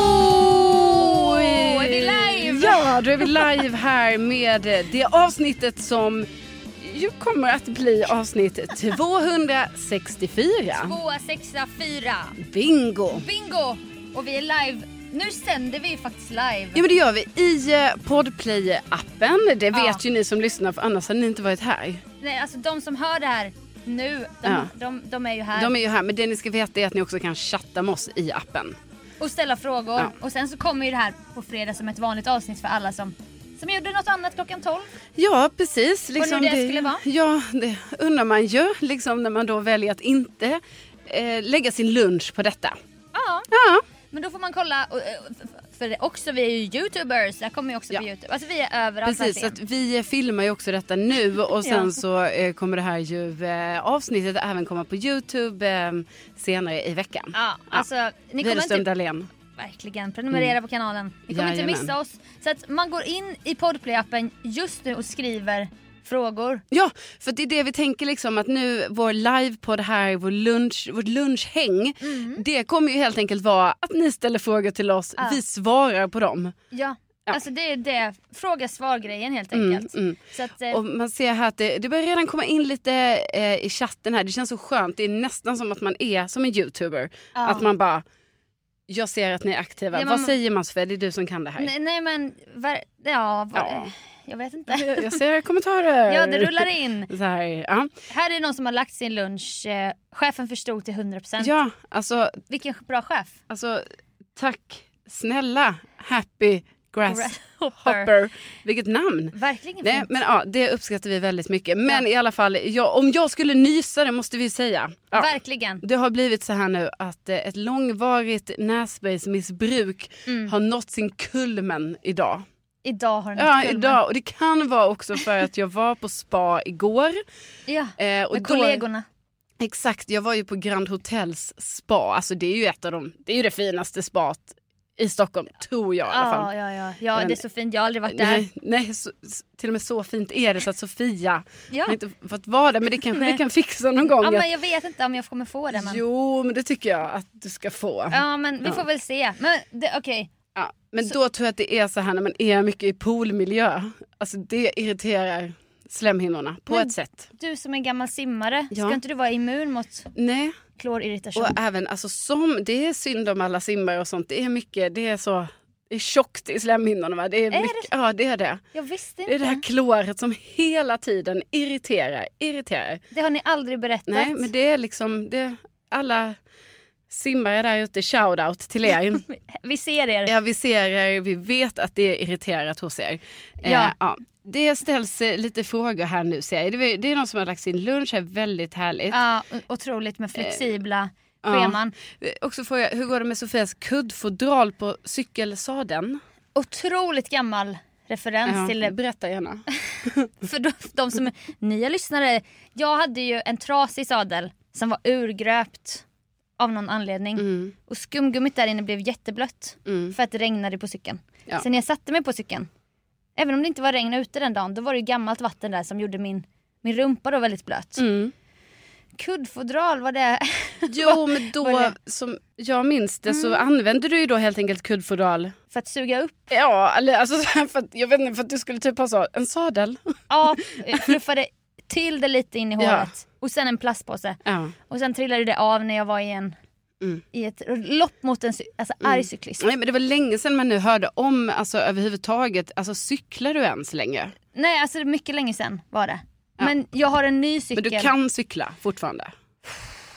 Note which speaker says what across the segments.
Speaker 1: Då
Speaker 2: är vi live!
Speaker 1: Ja, då är vi live här med det avsnittet som ju kommer att bli avsnitt 264.
Speaker 2: Tvåa, sexa, fyra.
Speaker 1: Bingo!
Speaker 2: Bingo! Och vi är live. Nu sänder vi faktiskt live.
Speaker 1: Ja men det gör vi i eh, Podplay-appen. Det
Speaker 2: Ja.
Speaker 1: vet ju ni som lyssnar för annars hade ni inte varit här.
Speaker 2: Nej, alltså de som hör det här nu, de,
Speaker 1: Ja.
Speaker 2: de, de är ju här.
Speaker 1: De är ju här men det ni ska veta är att ni också kan chatta med oss i appen.
Speaker 2: Och ställa frågor.
Speaker 1: Ja.
Speaker 2: Och sen så kommer ju det här på fredag som ett vanligt avsnitt för alla som, som gjorde något annat klockan 12.
Speaker 1: Ja precis. Liksom
Speaker 2: det skulle vara?
Speaker 1: Ja det undrar man ju liksom när man då väljer att inte eh, lägga sin lunch på detta.
Speaker 2: Ja.
Speaker 1: Ja.
Speaker 2: Men då får man kolla. Och, eh, för- för det också, vi är ju youtubers. Det här kommer ju också
Speaker 1: Ja.
Speaker 2: på youtube. Alltså vi är överallt.
Speaker 1: Precis, så
Speaker 2: verkligen.
Speaker 1: att vi filmar ju också detta nu och sen så eh, kommer det här ju eh, avsnittet även komma på Youtube eh, senare i veckan.
Speaker 2: Ja, alltså, ni kommer
Speaker 1: Widerström
Speaker 2: inte-
Speaker 1: Dahlén.
Speaker 2: Verkligen. Prenumerera på kanalen. Ni kommer inte
Speaker 1: Mm. Jajamän.
Speaker 2: missa oss. Så att man går in i Podplay-appen just nu och skriver frågor.
Speaker 1: Ja, för det är det vi tänker liksom att nu vår livepodd här, vår lunch, vårt lunchhäng, det kommer ju helt enkelt vara att ni ställer frågor till oss,
Speaker 2: Mm. Ja.
Speaker 1: vi svarar på dem.
Speaker 2: Ja. Alltså det är det. Fråga svar-grejen helt
Speaker 1: Mm,
Speaker 2: enkelt.
Speaker 1: mm.
Speaker 2: Så att, eh,
Speaker 1: Och man ser här att det, det börjar redan komma in lite eh, i chatten här. Det känns så skönt. Det är nästan som att man är som en youtuber. Att man bara, jag ser att ni är aktiva.
Speaker 2: Ja,
Speaker 1: Vad
Speaker 2: man-
Speaker 1: säger man Sofia? Det är du som kan det här.
Speaker 2: nej, nej men, ver- ja, va-
Speaker 1: Ja.
Speaker 2: jag vet
Speaker 1: Jag-
Speaker 2: inte.
Speaker 1: Jag ser kommentarer.
Speaker 2: ja, det rullar in.
Speaker 1: Så här, ja.
Speaker 2: Här är någon som har lagt sin lunch. Eh, chefen förstod till 100%.
Speaker 1: ja, alltså,
Speaker 2: Vilken bra chef.
Speaker 1: alltså tack snälla Happy Grasshopper.
Speaker 2: Grasshopper.
Speaker 1: Vilket namn.
Speaker 2: Verkligen
Speaker 1: Nej,
Speaker 2: fint.
Speaker 1: men ja, det uppskattar vi väldigt mycket. Men i alla fall, ja, om jag skulle nysa det måste vi säga. Ja.
Speaker 2: Verkligen.
Speaker 1: Det har blivit så här nu att eh, ett långvarigt näsbergsmissbruk
Speaker 2: Mm.
Speaker 1: har nått sin kulmen idag.
Speaker 2: Idag har den
Speaker 1: Ja,
Speaker 2: nått kulmen.
Speaker 1: idag. Och det kan vara också för att jag var på spa igår.
Speaker 2: Ja.
Speaker 1: Eh, och
Speaker 2: Med
Speaker 1: då-
Speaker 2: kollegorna.
Speaker 1: Exakt, jag var ju på Grand Hotels spa. Alltså det är ju ett av de, det är ju det finaste spat i Stockholm, tror jag i alla fall.
Speaker 2: Ja, ja, ja. ja,
Speaker 1: Men-
Speaker 2: det är så fint. Jag har aldrig varit där.
Speaker 1: Nej, nej så, s- till och med så fint är det så att Sofia
Speaker 2: Ja.
Speaker 1: har inte fått vara där men det kanske vi kan fixa någon gång.
Speaker 2: Ja, men jag vet inte om jag kommer få det. Men...
Speaker 1: Jo men det tycker jag att du ska få.
Speaker 2: Ja, men vi
Speaker 1: Ja.
Speaker 2: får väl se. Men det- okej.
Speaker 1: Ja, men då tror jag att det är så här när man är mycket i poolmiljö. Alltså det irriterar slemhinnorna på
Speaker 2: Men-
Speaker 1: ett sätt.
Speaker 2: Du som är en gammal simmare,
Speaker 1: Ja.
Speaker 2: ska inte du vara immun mot
Speaker 1: Nej,
Speaker 2: klorirritation?
Speaker 1: och även alltså som, det är synd om alla simmare och sånt. Det är mycket, det är så, det är tjockt i slemhinnorna va? Det är,
Speaker 2: det
Speaker 1: mycket, ja det är det.
Speaker 2: Jag visste inte.
Speaker 1: Det är det här kloret som hela tiden irriterar, irriterar.
Speaker 2: har ni aldrig berättat.
Speaker 1: Nej men det är liksom, det, alla simmare där ute, shoutout till er.
Speaker 2: Vi ser er.
Speaker 1: Ja, vi ser er. Vi vet att det är irriterat hos er. Eh,
Speaker 2: Ja.
Speaker 1: ja. Det ställs eh, lite frågor här nu ser jag. Det är, det är någon som har lagt sin lunch här, väldigt härligt.
Speaker 2: Ja, o- otroligt med flexibla
Speaker 1: ja.
Speaker 2: scheman.
Speaker 1: Eh, Också fråga, hur går det med Sofias kuddfodral på cykelsadeln? Eh,
Speaker 2: Otroligt gammal referens till det.
Speaker 1: Berätta gärna.
Speaker 2: För de, de som är nya lyssnare. Jag hade ju en trasig sadel som var urgröpt av någon anledning.
Speaker 1: Mm.
Speaker 2: Och skumgummit där inne blev jätteblött
Speaker 1: Mm.
Speaker 2: för att det regnade på cykeln.
Speaker 1: Ja.
Speaker 2: Så när jag satte mig på cykeln, även om det inte var regn ute den dagen, då var det ju gammalt vatten där som gjorde min, min rumpa då väldigt blöt.
Speaker 1: Mm.
Speaker 2: Kuddfodral var det.
Speaker 1: Jo men
Speaker 2: vad är
Speaker 1: då, Mm.
Speaker 2: det?
Speaker 1: som jag minns det så använde du ju då helt enkelt kuddfodral.
Speaker 2: för att suga upp.
Speaker 1: Ja, eller alltså så här för att, jag vet inte, för att du skulle typ ha så, en sadel.
Speaker 2: Ja, eh, fluffade till det lite in i håret.
Speaker 1: Ja.
Speaker 2: Och sen en plastpåse.
Speaker 1: Ja.
Speaker 2: Och sen trillade det av när jag var i, en,
Speaker 1: Mm.
Speaker 2: i ett lopp mot en cy- alltså, arg cyklist.
Speaker 1: Nej men det var länge sedan man nu hörde om, alltså överhuvudtaget, alltså cyklar du ens längre?
Speaker 2: Nej, alltså det är mycket länge sedan var det.
Speaker 1: Ja.
Speaker 2: Men jag har en ny cykel.
Speaker 1: Men du kan cykla fortfarande?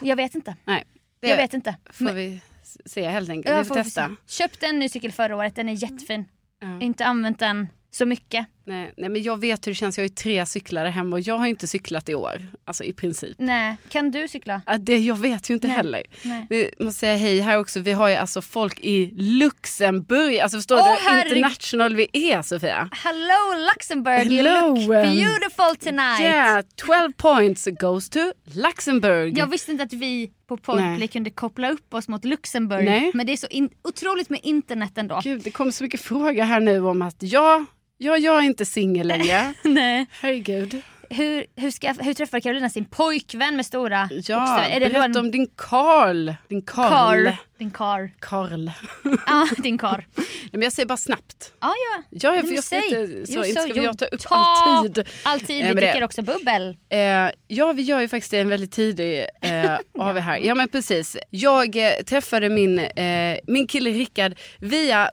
Speaker 2: Jag vet inte.
Speaker 1: Nej. Det
Speaker 2: Jag vet inte.
Speaker 1: får
Speaker 2: Men-
Speaker 1: vi s- se helt enkelt.
Speaker 2: Ja,
Speaker 1: vi får,
Speaker 2: får vi
Speaker 1: testa. Mm.
Speaker 2: se. Köpte en ny cykel förra året, den är jättefin.
Speaker 1: Ja.
Speaker 2: Inte använt den så mycket.
Speaker 1: Nej, nej men jag vet hur det känns, jag har ju tre cyklare hemma och jag har ju inte cyklat i år. Alltså i princip.
Speaker 2: Nej, kan du cykla?
Speaker 1: Ja, Det, jag vet ju inte heller.
Speaker 2: Nej.
Speaker 1: Vi måste säga hej här också, vi har ju alltså folk i Luxemburg. Alltså förstår
Speaker 2: Åh,
Speaker 1: du hur
Speaker 2: herregud.
Speaker 1: international vi är Sofia?
Speaker 2: Hello Luxembourg,
Speaker 1: Hello,
Speaker 2: you look
Speaker 1: um,
Speaker 2: beautiful tonight.
Speaker 1: Yeah, 12 points goes to Luxemburg.
Speaker 2: Jag visste inte att vi på Podplay
Speaker 1: Nej.
Speaker 2: kunde koppla upp oss mot Luxemburg.
Speaker 1: Nej.
Speaker 2: Men det är så in- otroligt med internet ändå.
Speaker 1: Gud, det kom så mycket frågor här nu om att ja, ja jag är inte singel längre.
Speaker 2: Nej.
Speaker 1: Herregud.
Speaker 2: Hur, hur, ska, hur träffar Carolina sin pojkvän med stora
Speaker 1: Ja,
Speaker 2: bokstäver? Är det då
Speaker 1: berätta
Speaker 2: en
Speaker 1: om din Karl. Din Karl.
Speaker 2: Karl? Din Karl.
Speaker 1: Karl.
Speaker 2: Ja, din Karl.
Speaker 1: Nej, men jag säger bara snabbt.
Speaker 2: Ja, ja.
Speaker 1: Ja, jag,
Speaker 2: Men
Speaker 1: för jag ska
Speaker 2: säg.
Speaker 1: inte, så,
Speaker 2: Jo,
Speaker 1: inte ska
Speaker 2: jo,
Speaker 1: jag ta upp
Speaker 2: ta
Speaker 1: all tid.
Speaker 2: All tid,
Speaker 1: Eh,
Speaker 2: vi
Speaker 1: men det-
Speaker 2: dricker också bubbel.
Speaker 1: Eh, ja, vi gör ju faktiskt det en väldigt tidig eh, av er här. Ja, men precis. Jag eh, träffade min, eh, min kille Rickard via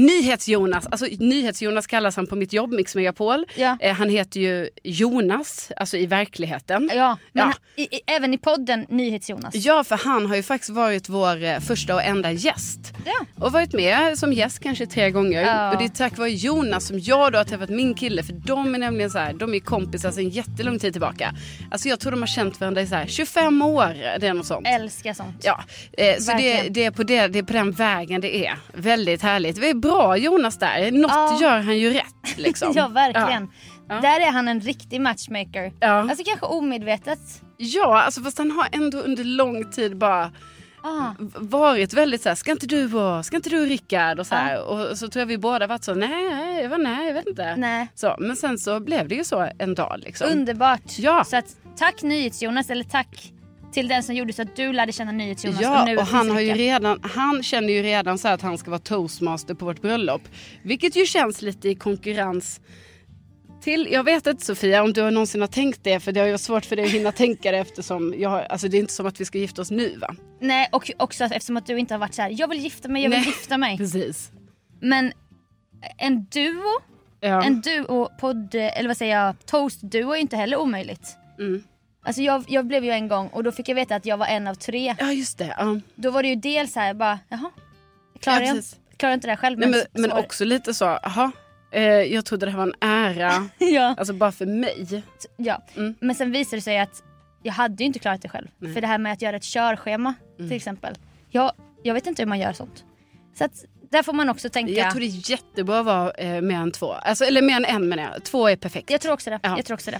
Speaker 1: Nyhets-Jonas. Alltså Nyhets-Jonas kallas han på mitt jobb, Mix Megapol.
Speaker 2: Ja.
Speaker 1: Eh, han heter ju Jonas, alltså i verkligheten.
Speaker 2: Ja, men
Speaker 1: Ja.
Speaker 2: Han, i, i, även i podden NyhetsJonas.
Speaker 1: Ja, för han har ju faktiskt varit vår eh, första och enda gäst.
Speaker 2: Ja.
Speaker 1: Och varit med som gäst kanske tre gånger.
Speaker 2: Ja.
Speaker 1: Och det är tack vare Jonas som jag då har träffat min kille. För de är nämligen så här, de är kompisar sedan jättelång tid tillbaka. Alltså jag tror de har känt varandra i så här 25 år. Det är något sånt.
Speaker 2: Älskar sånt.
Speaker 1: Ja, eh, så det,
Speaker 2: Verkligen.
Speaker 1: det, är på det, det är på den vägen det är. Väldigt härligt. Det är bra Jonas där. Något
Speaker 2: Ja.
Speaker 1: gör han ju rätt liksom.
Speaker 2: Ja, verkligen.
Speaker 1: Ja.
Speaker 2: Där är han en riktig matchmaker.
Speaker 1: Ja.
Speaker 2: Alltså kanske omedvetet.
Speaker 1: Ja, alltså fast han har ändå under lång tid bara
Speaker 2: Ah.
Speaker 1: varit väldigt så här, ska inte du och, ska inte du och Rickard och så här. Och så tror jag vi båda varit så, nej, jag var nej, jag vet inte.
Speaker 2: Nej.
Speaker 1: Så, men sen så blev det ju så en dag liksom.
Speaker 2: Underbart.
Speaker 1: Ja.
Speaker 2: Så att, tack NyhetsJonas, eller tack till den som gjorde så att du lärde känna NyhetsJonas.
Speaker 1: Ja,
Speaker 2: nu
Speaker 1: och han,
Speaker 2: finns
Speaker 1: har ju
Speaker 2: Rickard.
Speaker 1: redan, han känner ju redan så här att han ska vara toastmaster på vårt bröllop. Vilket ju känns lite i konkurrens till, jag vet inte Sofia om du har någonsin har tänkt det för det har ju varit svårt för dig att hinna tänka det eftersom jag har, alltså det är inte som att vi ska gifta oss nu va?
Speaker 2: Nej, och också eftersom att du inte har varit så här. jag vill gifta mig, jag vill
Speaker 1: Nej.
Speaker 2: gifta mig.
Speaker 1: Precis.
Speaker 2: Men en duo,
Speaker 1: Ja.
Speaker 2: en duo, podd, eller vad säger jag, toast-duo är ju inte heller omöjligt.
Speaker 1: Mm.
Speaker 2: Alltså jag, jag blev ju en gång och då fick jag veta att jag var en av tre.
Speaker 1: ja just det. Ja.
Speaker 2: Då var det ju dels så här, bara, jaha, klarar
Speaker 1: Ja,
Speaker 2: jag
Speaker 1: precis.
Speaker 2: klarar jag inte det här själv?
Speaker 1: Nej, men,
Speaker 2: så-
Speaker 1: men
Speaker 2: så-
Speaker 1: också lite så, aha, eh, jag trodde det här var en ära,
Speaker 2: ja.
Speaker 1: alltså bara för mig.
Speaker 2: Ja.
Speaker 1: Mm.
Speaker 2: Men sen visade det sig att jag hade ju inte klarat det själv. För det här med att göra ett körschema
Speaker 1: Mm.
Speaker 2: till exempel. Jag, jag vet inte hur man gör sånt. Så att där får man också tänka.
Speaker 1: Jag tror det är jättebra att vara eh, med än två, alltså, eller med än en menar jag, två är perfekt.
Speaker 2: jag tror också det.
Speaker 1: Ja.
Speaker 2: Jag tror också det.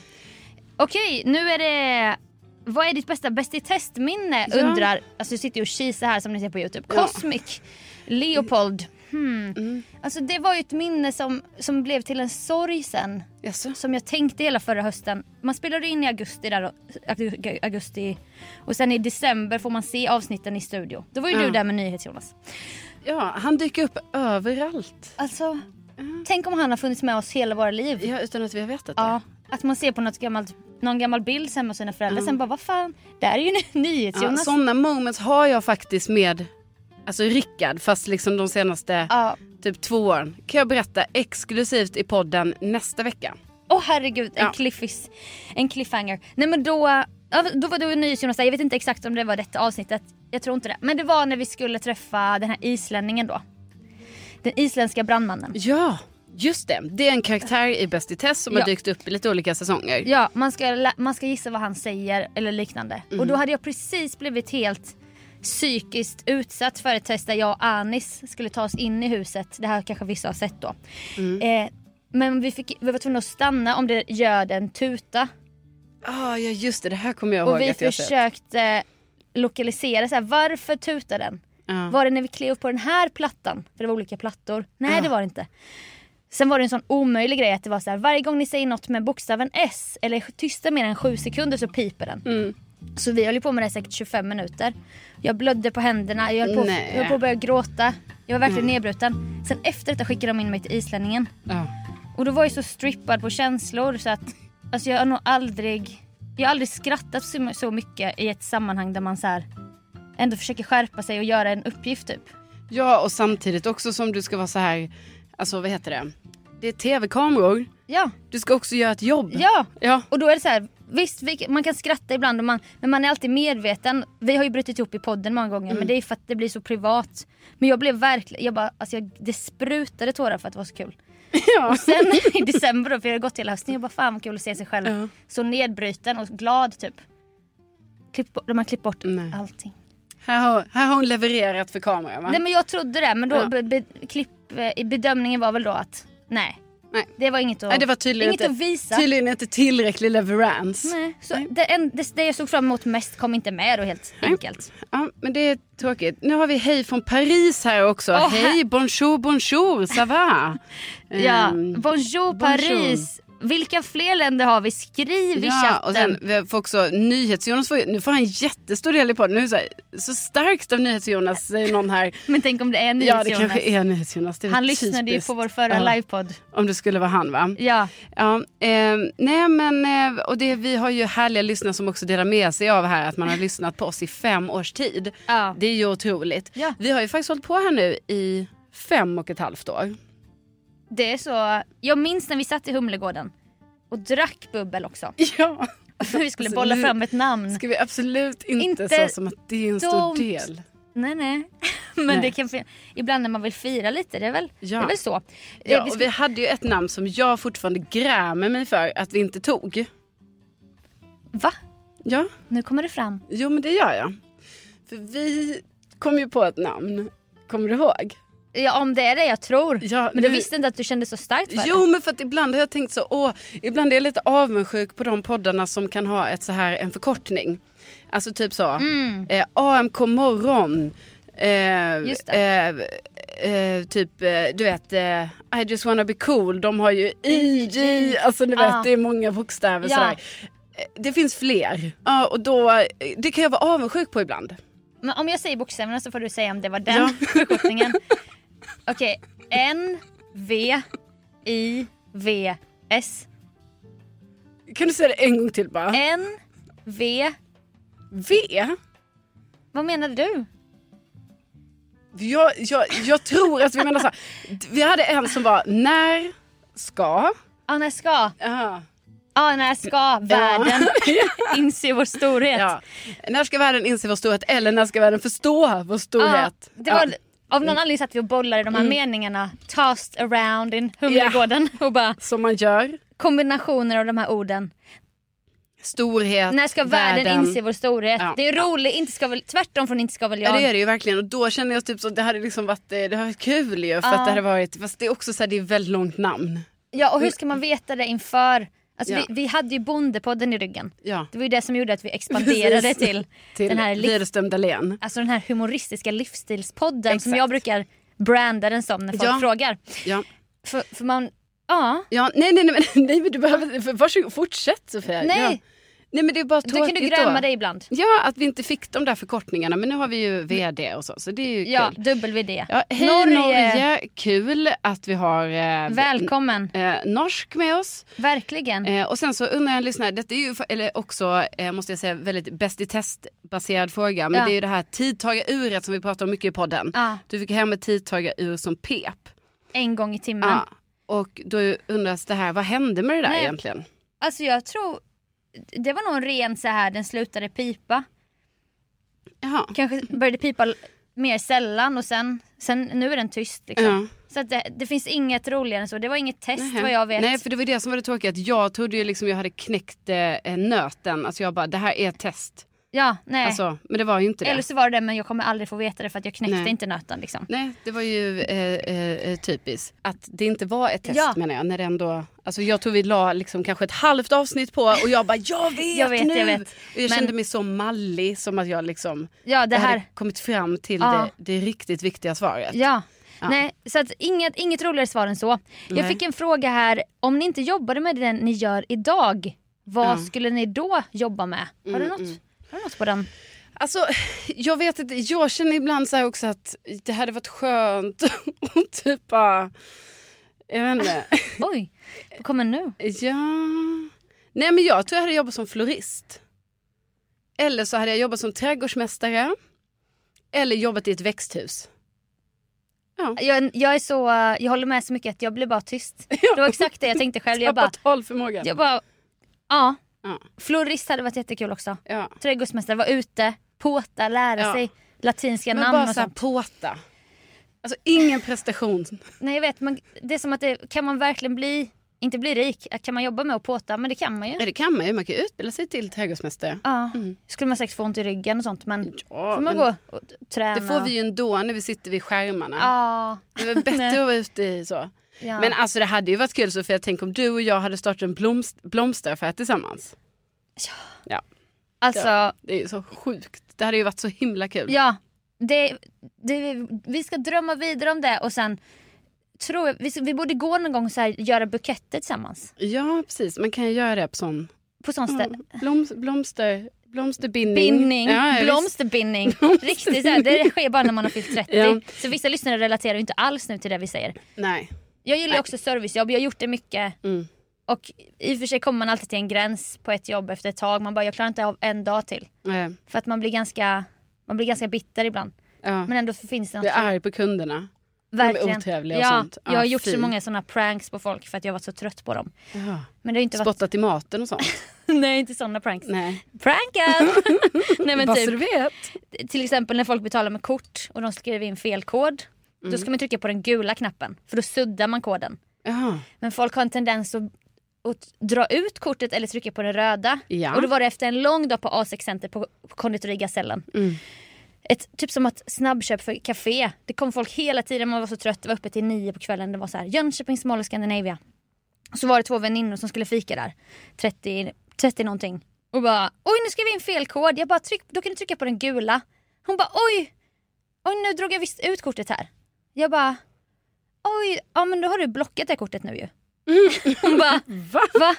Speaker 2: Okej, nu är det... Vad är ditt bästa Bäst i testminne?
Speaker 1: Ja.
Speaker 2: Undrar, alltså du sitter ju och kisar här som ni ser på Youtube.
Speaker 1: Ja. Mm.
Speaker 2: Cosmic, Leopold. Hmm. Alltså det var ju ett minne som, som blev till en sorg sen.
Speaker 1: Jaså?
Speaker 2: som jag tänkte hela förra hösten. Man spelade in i augusti där och, ag- augusti och sen i december får man se avsnitten i studio. Då var ju du
Speaker 1: Ja.
Speaker 2: där med nyhets Jonas.
Speaker 1: Ja, han dyker upp överallt.
Speaker 2: Alltså, tänk om han har funnits med oss hela våra liv.
Speaker 1: Ja, utan att vi har vetat
Speaker 2: Ja, att man ser på något gammalt, någon gammal bild hemma hos sina föräldrar sen bara vad fan, där är ju nyhets
Speaker 1: det. Mm. Ja,
Speaker 2: Jonas.
Speaker 1: sådana moments har jag faktiskt med alltså Rickard, fast liksom de senaste
Speaker 2: Ja.
Speaker 1: typ två åren. Kan jag berätta exklusivt i podden nästa vecka.
Speaker 2: Åh herregud, en,
Speaker 1: Ja.
Speaker 2: cliffis, en cliffhanger. Nej men då, ja, då var du NyhetsJonas där, jag vet inte exakt om det var detta avsnittet. Jag tror inte det. Men det var när vi skulle träffa den här islänningen då. Den isländska brandmannen.
Speaker 1: Ja, just det. Det är en karaktär i Bäst i test som
Speaker 2: Ja.
Speaker 1: har dykt upp i lite olika säsonger.
Speaker 2: Ja, man ska, lä- man ska gissa vad han säger eller liknande. Och då hade jag precis blivit helt psykiskt utsatt för ett test där jag och Anis skulle ta oss in i huset. Det här kanske vissa har sett då. Eh, Men vi, fick, vi var tvungna att stanna om det göd en tuta.
Speaker 1: Ah, ja just det, det här kommer jag ihåg
Speaker 2: Och vi
Speaker 1: att jag sett.
Speaker 2: försökte lokalisera så här, varför tutar den?
Speaker 1: Ja.
Speaker 2: Var det när vi klev upp på den här plattan? För det var olika plattor. Nej det var det inte. Sen var det en sån omöjlig grej att det var så här, varje gång ni säger något med bokstaven S eller är tysta mer än sju sekunder så piper den.
Speaker 1: Mm.
Speaker 2: Så vi höll ju på med det i säkert 25 minuter. Jag blödde på händerna, jag höll på,
Speaker 1: Nej. Mm.
Speaker 2: jag höll på att börja gråta. Jag var verkligen nedbruten. Sen efter detta skickade de in mig till islänningen.
Speaker 1: Ja.
Speaker 2: Och då var jag så strippad på känslor så att alltså jag har nog aldrig jag har aldrig skrattat så, så mycket i ett sammanhang där man så här ändå försöker skärpa sig och göra en uppgift typ.
Speaker 1: ja och samtidigt också som du ska vara så här, alltså vad heter det? Det är tv-kameror,
Speaker 2: Ja,
Speaker 1: du ska också göra ett jobb.
Speaker 2: ja.
Speaker 1: Ja.
Speaker 2: Och då är det så här, visst vi, man kan skratta ibland och man, men man är alltid medveten. Vi har ju brutit ihop i podden många gånger men det är för att det blir så privat. Men jag blev verkligen, jag bara, alltså jag, det sprutade tårar för att det var så kul.
Speaker 1: Ja.
Speaker 2: Och sen i december då, för jag hade gått hela hösten, jag bara fan vad kul att se sig själv.
Speaker 1: Ja.
Speaker 2: Så nedbruten och glad typ. Klipp, bort- de har klippt bort
Speaker 1: Nej.
Speaker 2: allting.
Speaker 1: Här, har, här har hon levererat för kameran va?
Speaker 2: Nej men jag trodde det men då
Speaker 1: Ja.
Speaker 2: be, be, klipp, eh, i bedömningen var väl då att nej.
Speaker 1: Nej.
Speaker 2: Det var inget att,
Speaker 1: Nej, det var tydligen,
Speaker 2: inget
Speaker 1: inte,
Speaker 2: att visa.
Speaker 1: tydligen inte tillräcklig leverans.
Speaker 2: Nej, så det, en, det, det jag såg fram emot mest kom inte med då helt enkelt.
Speaker 1: Ja, men det är tråkigt. Nu har vi hej från Paris här också.
Speaker 2: Åh,
Speaker 1: hej, bonjour, bonjour, ça va?
Speaker 2: Ja,
Speaker 1: Ehm,
Speaker 2: bonjour Paris! Vilka fler länder har vi? Skriv i
Speaker 1: Ja,
Speaker 2: chatten.
Speaker 1: och sen vi får också NyhetsJonas, får, ju- nu får han en jättestor del i podden. Nu är det så, här, så starkt av NyhetsJonas säger någon här.
Speaker 2: Men tänk om det är en
Speaker 1: Ja det
Speaker 2: Jonas.
Speaker 1: kanske är NyhetsJonas. Det är
Speaker 2: Han
Speaker 1: väl
Speaker 2: lyssnade ju
Speaker 1: typiskt.
Speaker 2: på vår förra
Speaker 1: Ja,
Speaker 2: livepodd.
Speaker 1: Om det skulle vara han va?
Speaker 2: Ja.
Speaker 1: Ja, eh, nej men eh, och det, vi har ju härliga lyssnare som också delar med sig av här att man har lyssnat på oss i fem års tid.
Speaker 2: Ja.
Speaker 1: Det är ju otroligt.
Speaker 2: Ja.
Speaker 1: Vi har ju faktiskt hållit på här nu i fem och ett halvt år.
Speaker 2: Det är så, jag minns när vi satt i Humlegården och drack bubbel också.
Speaker 1: Ja.
Speaker 2: Vi skulle
Speaker 1: Alltså,
Speaker 2: bolla
Speaker 1: nu
Speaker 2: fram ett namn.
Speaker 1: Ska vi absolut inte,
Speaker 2: Inte
Speaker 1: så som att det är en stor
Speaker 2: dumt.
Speaker 1: del.
Speaker 2: Nej nej. Men
Speaker 1: Nej.
Speaker 2: det kan fin- ibland när man vill fira lite, det är väl,
Speaker 1: Ja.
Speaker 2: det är väl så. Eh,
Speaker 1: Ja,
Speaker 2: vi
Speaker 1: och
Speaker 2: skulle,
Speaker 1: vi hade ju ett namn som jag fortfarande grämer mig för att vi inte tog.
Speaker 2: Va?
Speaker 1: Ja,
Speaker 2: Nu kommer det fram.
Speaker 1: jo men det gör jag. För vi kom ju på ett namn. Kommer du ihåg?
Speaker 2: Ja om det är det jag tror.
Speaker 1: Ja,
Speaker 2: men du
Speaker 1: nu-
Speaker 2: visste inte att du kände så starkt för
Speaker 1: Jo
Speaker 2: det.
Speaker 1: men för att ibland har jag tänkt så, åh, ibland är jag lite avundsjuk på de poddarna som kan ha ett så här, en förkortning. Alltså typ så, eh, AMK morgon. Eh,
Speaker 2: Mm. Just
Speaker 1: Eh, eh, typ, eh, du vet, eh, I just wanna be cool. De har ju IJ, alltså du vet
Speaker 2: Mm, Ah.
Speaker 1: det är många bokstäver
Speaker 2: Ja.
Speaker 1: sådär. Eh, Det finns fler. Ja, och då, eh, det kan jag vara avundsjuk på ibland.
Speaker 2: Men om jag säger bokstäverna så får du säga om det var den förkortningen. Okej, N, V, I, V, S.
Speaker 1: Kan du säga det en gång till bara?
Speaker 2: N, V,
Speaker 1: V?
Speaker 2: vad menade du?
Speaker 1: Jag, jag, jag tror att vi menar så här. Vi hade en som var när ska...
Speaker 2: Ah, när ska,
Speaker 1: Ja.
Speaker 2: ah, när ska världen inse vår storhet?
Speaker 1: Ja. När ska världen inse vår storhet eller när ska världen förstå vår storhet?
Speaker 2: Ja, det var,
Speaker 1: Ja. Mm.
Speaker 2: Av någon anledning satt vi och bollade de här meningarna tossed around in Humlegården och bara
Speaker 1: Som man gör.
Speaker 2: kombinationer av de här orden.
Speaker 1: Storhet,
Speaker 2: När ska världen, inse vår storhet?
Speaker 1: Ja.
Speaker 2: Det är roligt, inte ska väl, tvärtom från inte ska väl
Speaker 1: Ja
Speaker 2: jag.
Speaker 1: det är det ju verkligen och då känner jag typ så att det hade liksom varit, eh, det hade varit kul ju för att det hade varit, fast det är också så här, det är väldigt långt namn.
Speaker 2: Ja, och hur ska man veta det inför? Alltså,
Speaker 1: Ja.
Speaker 2: vi, vi hade ju Bondepodden i ryggen.
Speaker 1: Ja.
Speaker 2: Det var ju det som gjorde att vi expanderade
Speaker 1: Precis.
Speaker 2: till,
Speaker 1: Till
Speaker 2: den, här liv,
Speaker 1: Widerström Dahlén.
Speaker 2: alltså den här humoristiska livsstilspodden som
Speaker 1: Exakt.
Speaker 2: jag brukar branda den som när folk
Speaker 1: Ja.
Speaker 2: frågar.
Speaker 1: Ja.
Speaker 2: För, för man, ja,
Speaker 1: Ja, nej, nej, nej, men- nej men du behöver, för- varsågod, fortsätt Sofia.
Speaker 2: Nej.
Speaker 1: Ja. Nej men det är bara
Speaker 2: då
Speaker 1: tråkigt
Speaker 2: kan du gräma dig ibland.
Speaker 1: Ja, att vi inte fick de där förkortningarna. Men nu har vi ju VD och så, så det är ju
Speaker 2: Ja,
Speaker 1: kul.
Speaker 2: WD.
Speaker 1: Ja, hej Norge. Kul att vi har eh,
Speaker 2: Välkommen,
Speaker 1: eh, norsk med oss.
Speaker 2: verkligen.
Speaker 1: Eh, och sen så undrar jag en lyssnare, detta är ju fa- eller också eh, måste jag säga väldigt bäst i test baserad fråga. Men
Speaker 2: Ja.
Speaker 1: det är ju det här tidtagaruret som vi pratar om mycket i podden.
Speaker 2: Ja.
Speaker 1: Du fick hem ett tidtagarur som pep.
Speaker 2: En gång i timmen.
Speaker 1: Ja. Och då undras det här, vad hände med det där
Speaker 2: Nej.
Speaker 1: egentligen?
Speaker 2: Alltså jag tror, det var nog en ren så här, den slutade pipa.
Speaker 1: Jaha.
Speaker 2: Kanske började pipa l- mer sällan och sen, sen nu är den tyst liksom.
Speaker 1: Ja.
Speaker 2: Så att det, det finns inget roligare än så. Det var inget test
Speaker 1: Nähä.
Speaker 2: vad jag vet.
Speaker 1: Nej för det var eh, det som var det tråkiga. Att jag trodde ju liksom jag hade knäckt eh, nöten. Alltså jag bara det här är ett test.
Speaker 2: Ja, nej.
Speaker 1: Alltså, men det var ju inte det.
Speaker 2: Eller så var det det men jag kommer aldrig få veta det för att jag knäckte
Speaker 1: Nej.
Speaker 2: inte nöten. Liksom.
Speaker 1: Nej, det var ju eh, eh, typiskt. Att det inte var ett test
Speaker 2: Ja.
Speaker 1: menar jag. När det ändå, alltså jag tror vi la liksom kanske ett halvt avsnitt på och jag bara jag vet,
Speaker 2: Jag vet,
Speaker 1: nu.
Speaker 2: jag vet.
Speaker 1: Och jag
Speaker 2: Men-
Speaker 1: kände mig så mallig som att jag liksom
Speaker 2: Ja, det
Speaker 1: jag hade
Speaker 2: här.
Speaker 1: kommit fram till
Speaker 2: Ja.
Speaker 1: det, det riktigt viktiga svaret.
Speaker 2: Ja. Nej, så att inget, inget roligare svar än så. Jag
Speaker 1: Nej.
Speaker 2: fick en fråga här, om ni inte jobbade med den ni gör idag, vad skulle ni då jobba med? Har
Speaker 1: Mm,
Speaker 2: du något, har du något på den?
Speaker 1: Alltså, jag vet inte, jag känner ibland så här också att det hade varit skönt och typ bara, jag vet inte.
Speaker 2: Oj, vad kommer nu?
Speaker 1: Ja... Nej men jag tror jag hade jobbat som florist. Eller så hade jag jobbat som trädgårdsmästare. Eller jobbat i ett växthus.
Speaker 2: Jag, jag, är så, eh, jag håller med så mycket att jag blir bara tyst. Det var exakt det jag tänkte själv. Jag bara,
Speaker 1: Tappat talförmågan.
Speaker 2: jag bara ja.
Speaker 1: Ja.
Speaker 2: Florist hade varit jättekul också.
Speaker 1: Ja.
Speaker 2: Trädgårdsmästare, vara ute, påta, lära
Speaker 1: Ja.
Speaker 2: sig latinska
Speaker 1: Men
Speaker 2: namn
Speaker 1: bara
Speaker 2: och
Speaker 1: såhär
Speaker 2: sånt.
Speaker 1: påta. Alltså ingen prestation.
Speaker 2: Nej jag vet, men det är som att det, kan man verkligen bli, inte bli rik, kan man jobba med att påta? Men det kan man ju.
Speaker 1: Nej, det kan man ju, man kan ju utbilda sig till trädgårdsmästare.
Speaker 2: Ja. Skulle man säkert få ont i ryggen och sånt men
Speaker 1: Ja,
Speaker 2: får
Speaker 1: men
Speaker 2: man gå och t- träna.
Speaker 1: Det får vi
Speaker 2: och-
Speaker 1: ju ändå när vi sitter vid skärmarna.
Speaker 2: Ja.
Speaker 1: Det är väl bättre
Speaker 2: Nej.
Speaker 1: att vara ute i så.
Speaker 2: Ja.
Speaker 1: Men alltså det hade ju varit kul Sofia, tänk om du och jag hade startat en blomst- blomsteraffär tillsammans. Ja.
Speaker 2: Alltså, ja.
Speaker 1: Det är ju så sjukt. Det hade ju varit så himla kul.
Speaker 2: det, det, vi ska drömma vidare om det och sen tror jag, vi, ska- vi borde gå någon gång och så här, göra buketter tillsammans.
Speaker 1: Ja, precis. Man kan ju göra det på sån
Speaker 2: På sånt
Speaker 1: Mm.
Speaker 2: ställe.
Speaker 1: bloms, blomster, blomsterbindning.
Speaker 2: Bindning,
Speaker 1: Ja, ja, visst.
Speaker 2: blomsterbindning. Riktigt så här, det sker bara när man har fyllt 30.
Speaker 1: Ja.
Speaker 2: Så vissa lyssnare relaterar ju inte alls nu till det vi säger.
Speaker 1: Nej.
Speaker 2: Jag gillar ju också servicejobb, jag har gjort det mycket.
Speaker 1: Mm.
Speaker 2: Och i och för sig kommer man alltid till en gräns på ett jobb efter ett tag. Man bara, jag klarar inte av en dag till.
Speaker 1: Eh,
Speaker 2: För att man blir ganska, man blir ganska bitter ibland.
Speaker 1: ja.
Speaker 2: Men alltså- ändå så finns det något.
Speaker 1: Jag är arg på kunderna.
Speaker 2: verkligen.
Speaker 1: otrevliga och
Speaker 2: ja,
Speaker 1: sånt.
Speaker 2: jag har
Speaker 1: Ah,
Speaker 2: gjort
Speaker 1: fy.
Speaker 2: så många såna pranks på folk för att jag varit så trött på dem.
Speaker 1: Ja.
Speaker 2: Men det har ju inte varit...
Speaker 1: Spottat i maten och sånt.
Speaker 2: Nej, inte såna pranks.
Speaker 1: Nej.
Speaker 2: Prankad! Nej men
Speaker 1: Bara
Speaker 2: typ.
Speaker 1: så du
Speaker 2: vet. Till exempel när folk betalar med kort och de skriver in fel kod. Då
Speaker 1: Mm.
Speaker 2: ska man trycka på den gula knappen för då suddar man koden.
Speaker 1: Ja.
Speaker 2: Men folk har en tendens att, att dra ut kortet eller trycka på den röda.
Speaker 1: Ja.
Speaker 2: Och då var det efter en lång dag på A6 Center på konditori Gasellen. Ett, typ som att snabbköp för café. Det kom folk hela tiden, man var så trött, det var uppe till nio på kvällen. Det var så här, Jönköping, Small och Scandinavia. Så var det två väninnor som skulle fika där. 30, 30 någonting. Och bara, oj nu skrev vi in fel kod. Jag bara, tryck, då kan du trycka på den gula. Hon bara, oj! Oj nu drog jag visst ut kortet här. Jag bara, oj, ja men då har du blockat det kortet nu ju.
Speaker 1: Mm.
Speaker 2: Hon bara, va?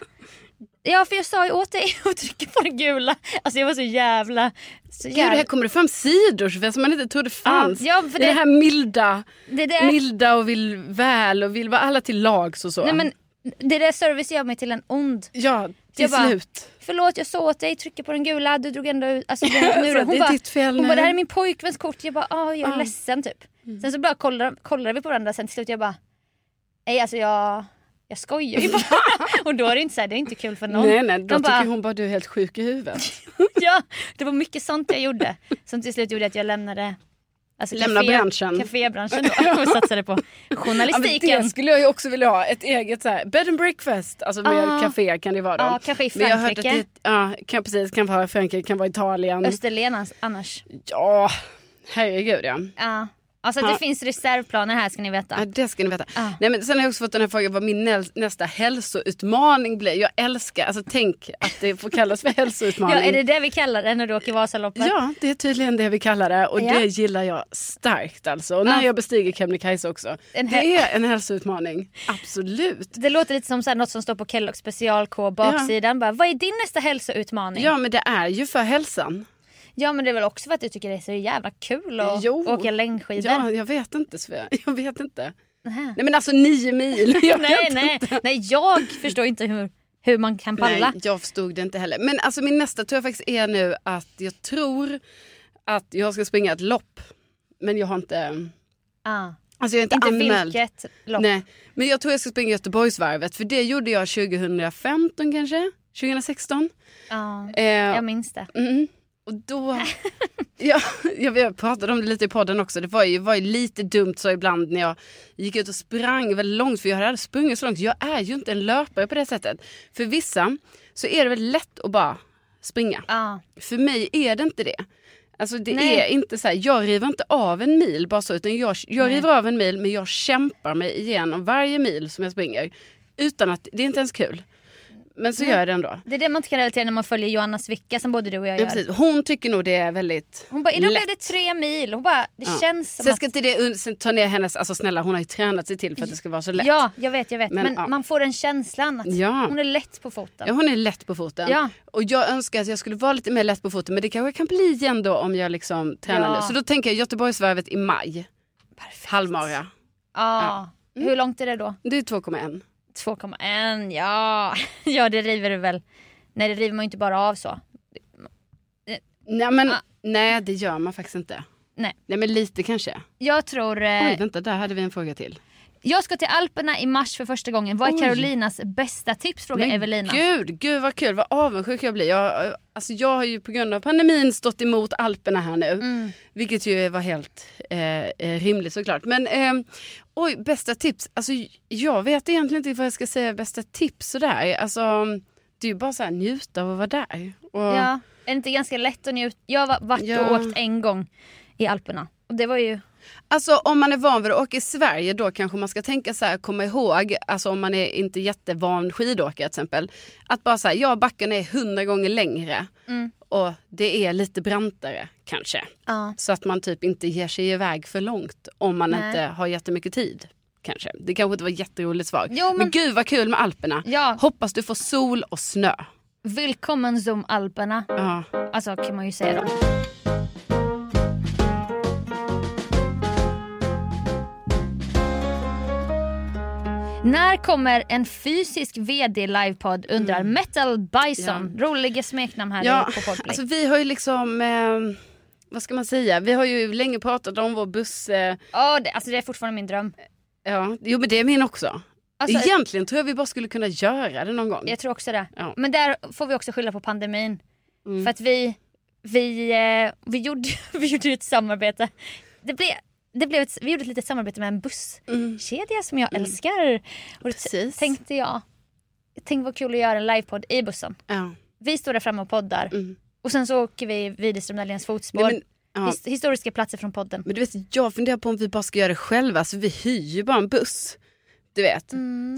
Speaker 2: Ja för jag sa ju åt dig att trycka på den gula. Alltså jag var så jävla... Så
Speaker 1: Gud,
Speaker 2: jävla
Speaker 1: här kommer det fram sidor Sofia, som man inte trodde fanns.
Speaker 2: Ja, för
Speaker 1: I
Speaker 2: det-
Speaker 1: det här milda,
Speaker 2: det där,
Speaker 1: milda och vill väl och vill vara alla till lags och så.
Speaker 2: nej, men, det där service gör mig till en ond.
Speaker 1: Ja, till
Speaker 2: Jag bara-
Speaker 1: slut.
Speaker 2: Förlåt jag sa åt dig, trycka på den gula, du drog ändå ut... Alltså, den
Speaker 1: Alltså,
Speaker 2: muren. hon
Speaker 1: det är
Speaker 2: bara,
Speaker 1: ditt fel
Speaker 2: hon
Speaker 1: nu. Mm.
Speaker 2: bara, det här är min pojkväns kort. Jag bara, ah, jag är ledsen typ. Sen så bara kollar, kollar vi på varandra, sen till slut jag bara, nej alltså jag, jag skojar ju bara. och då är det inte så här, det är inte kul för någon.
Speaker 1: Nej, nej, då
Speaker 2: De
Speaker 1: tycker
Speaker 2: bara,
Speaker 1: hon bara du är helt sjuk i huvudet.
Speaker 2: Ja, det var mycket sånt jag gjorde. Som till slut gjorde att jag lämnade alltså,
Speaker 1: Lämna branschen.
Speaker 2: Cafébranschen då, och satsade på
Speaker 1: Ja, men
Speaker 2: journalistiken.
Speaker 1: det skulle jag ju också vilja ha. Ett eget så här, bed and breakfast. Alltså med
Speaker 2: Ah.
Speaker 1: café kan det vara då.
Speaker 2: Ja, kanske i
Speaker 1: Men jag har hört att
Speaker 2: Frankrike.
Speaker 1: det, ja, kan, precis. Kan vara i Frankrike, kan vara Italien.
Speaker 2: Österlen ans- annars.
Speaker 1: Ja, herregud ja.
Speaker 2: Ja. Alltså att det finns reservplaner här ska ni
Speaker 1: Ja,
Speaker 2: veta.
Speaker 1: det ska ni veta.
Speaker 2: Ah.
Speaker 1: Nej, men sen har jag också fått den här frågan vad min nä- nästa hälsoutmaning blir. Jag älskar, alltså tänk att det får kallas för hälsoutmaning.
Speaker 2: Ja, är det det vi kallar det när du åker Vasaloppet?
Speaker 1: Ja, det är tydligen det vi kallar det och
Speaker 2: Ja.
Speaker 1: det gillar jag starkt alltså. Och när
Speaker 2: Ah.
Speaker 1: jag bestiger Kebnekaise också.
Speaker 2: En hä-
Speaker 1: det är en hälsoutmaning, absolut.
Speaker 2: Det låter lite som så här, något som står på Kellogg special K baksidan. Bara, vad är din nästa hälsoutmaning?
Speaker 1: Ja, men det är ju för hälsan.
Speaker 2: Ja, men det är väl också för att du tycker det är så jävla kul att
Speaker 1: Jo.
Speaker 2: åka längdskidor.
Speaker 1: Ja, jag vet inte Svea. Jag vet inte.
Speaker 2: Nähä.
Speaker 1: Nej men alltså nio mil. Jag
Speaker 2: nej,
Speaker 1: vet
Speaker 2: nej,
Speaker 1: inte.
Speaker 2: nej, jag förstår inte hur, hur man kan palla.
Speaker 1: Nej, jag förstod det inte heller. Men alltså min nästa tror jag faktiskt är nu att jag tror att jag ska springa ett lopp. Men jag har inte,
Speaker 2: Ah.
Speaker 1: alltså jag är inte,
Speaker 2: Inte
Speaker 1: anmäld.
Speaker 2: vilket lopp.
Speaker 1: Nej, men jag tror jag ska springa Göteborgsvarvet för det gjorde jag 2015 kanske? 2016?
Speaker 2: Ja,
Speaker 1: Eh,
Speaker 2: jag minns det.
Speaker 1: Mm. Och då... ja, jag, jag pratade om det lite i podden också. Det var ju, var ju lite dumt så ibland när jag gick ut och sprang väldigt långt. För jag hade aldrig sprungit så långt. Jag är ju inte en löpare på det sättet. För vissa så är det väl lätt att bara springa.
Speaker 2: Ja.
Speaker 1: För mig är det inte det. Alltså det
Speaker 2: Nej.
Speaker 1: är inte så här, jag river inte av en mil bara så utan jag, jag river av en mil men jag kämpar mig igenom varje mil som jag springer. Utan att, det är inte ens kul. Men så gör jag det ändå.
Speaker 2: Det är det man inte kan relatera när man följer Johanna Svicka som både du och jag
Speaker 1: Ja,
Speaker 2: gör.
Speaker 1: precis. Hon tycker nog det är väldigt
Speaker 2: Hon bara, idag blev
Speaker 1: lätt.
Speaker 2: det tre mil. Hon bara, det
Speaker 1: Ja.
Speaker 2: känns som
Speaker 1: Sen
Speaker 2: att...
Speaker 1: ska inte det un- sen ta ner hennes, alltså snälla hon har ju tränat sig till för att det ska vara så lätt.
Speaker 2: Ja, jag vet, jag vet. Men,
Speaker 1: Men, ja.
Speaker 2: man får den känslan att
Speaker 1: Ja.
Speaker 2: hon är lätt på foten.
Speaker 1: Ja, hon är lätt på foten.
Speaker 2: Ja.
Speaker 1: Och jag önskar att jag skulle vara lite mer lätt på foten men det kanske jag kan bli igen då om jag liksom tränar
Speaker 2: Ja.
Speaker 1: nu. Så då tänker jag Göteborgsvarvet i maj,
Speaker 2: Perfekt.
Speaker 1: halvmara.
Speaker 2: Ja.
Speaker 1: Mm.
Speaker 2: Hur långt är det då?
Speaker 1: Det är 2,1.
Speaker 2: 2,1, ja. ja, det river du väl. Nej, det river man ju inte bara av så.
Speaker 1: Nej, men,
Speaker 2: Ah.
Speaker 1: nej det gör man faktiskt inte.
Speaker 2: Nej.
Speaker 1: Nej men lite kanske.
Speaker 2: Jag tror... Eh,
Speaker 1: Oj vänta där hade vi en fråga till.
Speaker 2: jag ska till Alperna i mars för första gången. Vad är
Speaker 1: Oj.
Speaker 2: Carolinas bästa tips? Frågar Evelina.
Speaker 1: gud, gud vad kul, vad avundsjuk jag blir. Jag, eh, alltså, jag har ju på grund av pandemin stått emot Alperna här nu.
Speaker 2: Mm.
Speaker 1: Vilket ju var helt eh, eh, rimligt såklart. Men eh, oj, bästa tips. Alltså, jag vet egentligen inte vad jag ska säga bästa tips sådär. Alltså, det är ju bara så här, njuta av att vara där. Och,
Speaker 2: Ja. Är det inte ganska lätt att njuta? Jag har varit och
Speaker 1: Ja.
Speaker 2: åkt en gång i Alperna. Och det var ju...
Speaker 1: Alltså om man är van vid att åka i Sverige då kanske man ska tänka så här, komma ihåg, alltså om man är inte jättevan skidåkare till exempel, att bara säga ja backen är hundra gånger längre
Speaker 2: Mm.
Speaker 1: och det är lite brantare kanske.
Speaker 2: Ja.
Speaker 1: Så att man typ inte ger sig iväg för långt om man
Speaker 2: Nej.
Speaker 1: inte har jättemycket tid. Kanske. Det kanske inte var ett jätteroligt svar.
Speaker 2: Jo, men-
Speaker 1: men... gud vad kul med Alperna.
Speaker 2: Ja.
Speaker 1: Hoppas du får sol och snö.
Speaker 2: Välkommen zum Alperna.
Speaker 1: Ja.
Speaker 2: Alltså kan man ju säga då. När kommer en fysisk VD livepodd undrar Metal Bison. Roliga smeknamn här
Speaker 1: Mm. Ja,
Speaker 2: på Podplay.
Speaker 1: alltså vi har ju liksom, eh, vad ska man säga, vi har ju länge pratat om vår buss... Eh,
Speaker 2: Ja, det, alltså det är fortfarande min dröm.
Speaker 1: Ja, jo men det är min också.
Speaker 2: Alltså,
Speaker 1: Egentligen tror jag vi bara skulle kunna göra det någon gång.
Speaker 2: Jag tror också det.
Speaker 1: Mm. Ja. Mm.
Speaker 2: Men där får vi också skylla på pandemin. För att vi, vi, eh, vi, gjorde, vi gjorde ju ett samarbete. Det blev, det blev ett, vi gjorde ett litet samarbete med en busskedja som jag älskar. Och då t-
Speaker 1: Mm. Precis.
Speaker 2: tänkte jag, tänk vad kul att göra en livepodd i bussen.
Speaker 1: Ja.
Speaker 2: Vi står där framme och poddar. Och sen så åker vi Widerström Dahléns fotspår.
Speaker 1: Mm. Nej, men, ja.
Speaker 2: His- historiska platser från podden.
Speaker 1: men du vet, jag funderar på om vi bara ska göra det själva, så vi hyr ju bara en buss. Du vet,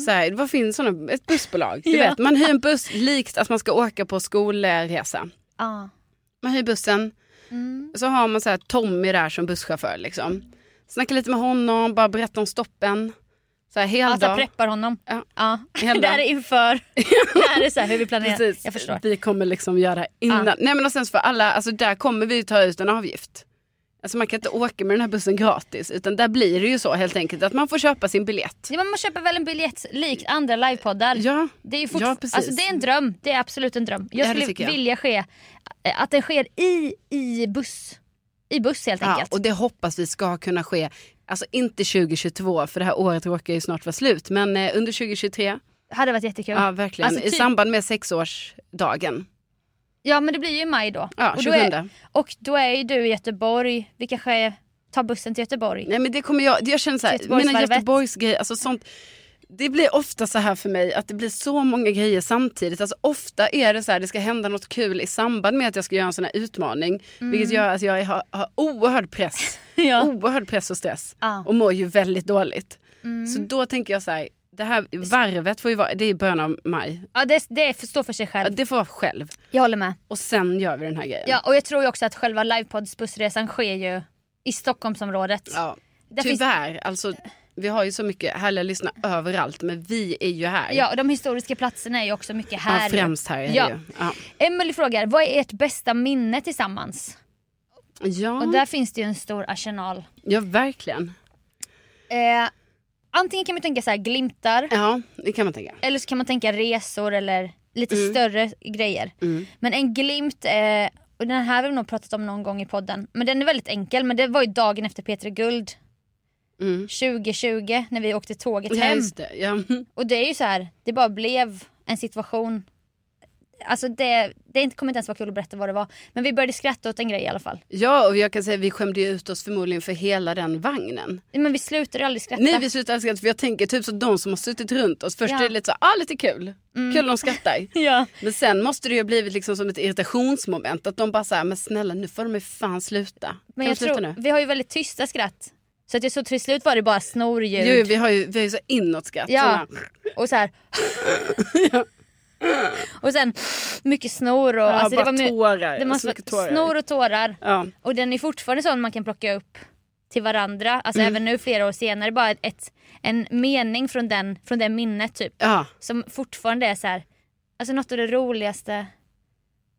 Speaker 1: så här, vad finns såna, ett bussbolag? Du
Speaker 2: Ja.
Speaker 1: vet, man hyr en buss likt att man ska åka på skolresa.
Speaker 2: Ja.
Speaker 1: Man hyr bussen, så har man så här Tommy där som busschaufför liksom. Snacka lite med honom, bara berätta om stoppen. Så här hel
Speaker 2: Alltså
Speaker 1: dag.
Speaker 2: preppar honom.
Speaker 1: Ja.
Speaker 2: Ja.
Speaker 1: Hela
Speaker 2: Det här är
Speaker 1: dagen.
Speaker 2: inför. Det här är så här hur vi planerar.
Speaker 1: Precis.
Speaker 2: Jag förstår.
Speaker 1: Vi kommer liksom göra innan.
Speaker 2: Ja.
Speaker 1: Nej men och sen så för alla, alltså där kommer vi ju ta ut en avgift. Alltså man kan inte åka med den här bussen gratis utan där blir det ju så helt enkelt att man får köpa sin biljett.
Speaker 2: Ja, men man köper väl en biljett likt andra livepoddar.
Speaker 1: Ja,
Speaker 2: det är ju fort...
Speaker 1: ja, precis.
Speaker 2: alltså, det är en dröm. Det är absolut en dröm. Jag
Speaker 1: Ja, det
Speaker 2: skulle
Speaker 1: tycker jag.
Speaker 2: vilja ske, eh, att den sker i, i buss. I buss helt
Speaker 1: Ja,
Speaker 2: enkelt.
Speaker 1: och det hoppas vi ska kunna ske, alltså inte 2022 för det här året råkar ju snart vara slut men eh, under 2023,
Speaker 2: Det hade varit jättekul.
Speaker 1: ja verkligen,
Speaker 2: Alltså,
Speaker 1: i
Speaker 2: typ-
Speaker 1: samband med sexårsdagen.
Speaker 2: Ja men det blir ju i maj då.
Speaker 1: Ja,
Speaker 2: och, då är,
Speaker 1: 27.
Speaker 2: och då är ju du i Göteborg. Vi kanske tar bussen till Göteborg.
Speaker 1: Nej men det kommer jag, jag känner så här, mina
Speaker 2: Göteborgsvarvet.
Speaker 1: Göteborgsgrejer, alltså sånt. Det blir ofta så här för mig att det blir så många grejer samtidigt. Alltså ofta är det så här, det ska hända något kul i samband med att jag ska göra en sån här utmaning. Vilket gör att jag har, har oerhörd press.
Speaker 2: Mm. Ja.
Speaker 1: Oerhörd press och stress.
Speaker 2: Ja. Mm.
Speaker 1: Och mår ju väldigt dåligt. Så då tänker jag så här, det här varvet får ju vara, det är i början av maj.
Speaker 2: Ja, det, det står för sig
Speaker 1: Ja,
Speaker 2: själv.
Speaker 1: Det får vara själv.
Speaker 2: Jag håller med.
Speaker 1: Och sen gör vi den här grejen.
Speaker 2: Ja, och jag tror ju också att själva livepoddsbussresan sker ju i Stockholmsområdet.
Speaker 1: Ja.
Speaker 2: Där finns-
Speaker 1: Tyvärr, alltså vi har ju så mycket härliga lyssnare överallt men vi är ju här.
Speaker 2: Ja, och de historiska platserna är ju också mycket här.
Speaker 1: Ja,
Speaker 2: ju.
Speaker 1: främst här är
Speaker 2: Ja.
Speaker 1: det ju. Ja.
Speaker 2: Emily frågar, vad är ert bästa minne tillsammans?
Speaker 1: Ja. Mm.
Speaker 2: Och där finns det ju en stor arsenal.
Speaker 1: ja, verkligen.
Speaker 2: Eh, antingen kan man tänka så här glimtar,
Speaker 1: Ja, det kan man tänka.
Speaker 2: eller så kan man tänka resor eller lite
Speaker 1: Mm.
Speaker 2: större grejer. Men en glimt, eh, och den här har vi nog pratat om någon gång i podden, men den är väldigt enkel. Men det var ju dagen efter Peter Guld
Speaker 1: Mm.
Speaker 2: 2020 när vi åkte tåget
Speaker 1: Ja,
Speaker 2: hem.
Speaker 1: just det. Ja.
Speaker 2: Och det är ju så här, det bara blev en situation Alltså det, det är inte- kommer inte ens vara kul att berätta vad det var. Men vi började skratta åt en grej i alla fall.
Speaker 1: Ja, och jag kan säga vi skämde ju ut oss förmodligen för hela den vagnen.
Speaker 2: Men vi slutade aldrig skratta.
Speaker 1: Nej vi slutade skratta för jag tänker typ så de som har suttit runt oss. Först
Speaker 2: Ja. Mm.
Speaker 1: är det lite så, ah lite kul. Kul de skrattar.
Speaker 2: Ja.
Speaker 1: Men sen måste det ju ha blivit liksom som ett irritationsmoment. Att de bara såhär, men snälla nu får de ju fan sluta. kan
Speaker 2: Men
Speaker 1: de
Speaker 2: jag
Speaker 1: sluta
Speaker 2: tror,
Speaker 1: nu?
Speaker 2: vi har ju väldigt tysta skratt. Så att jag så till slut var det bara snorljud.
Speaker 1: Jo, vi har ju, vi har ju så inåt skratt.
Speaker 2: Ja.
Speaker 1: sådana.
Speaker 2: Och så här. och sen mycket snor och...
Speaker 1: Ja,
Speaker 2: alltså
Speaker 1: "Ah, bara
Speaker 2: det var my-
Speaker 1: tårar.
Speaker 2: Det
Speaker 1: Så
Speaker 2: måste
Speaker 1: mycket
Speaker 2: vara
Speaker 1: tårar.
Speaker 2: snor och tårar.
Speaker 1: Ja.
Speaker 2: Och den är fortfarande sån man kan plocka upp till varandra. Alltså
Speaker 1: Mm.
Speaker 2: även nu flera år senare. Bara ett, en mening från, den, från det minnet typ.
Speaker 1: Ja.
Speaker 2: Som fortfarande är så här. Alltså något av det roligaste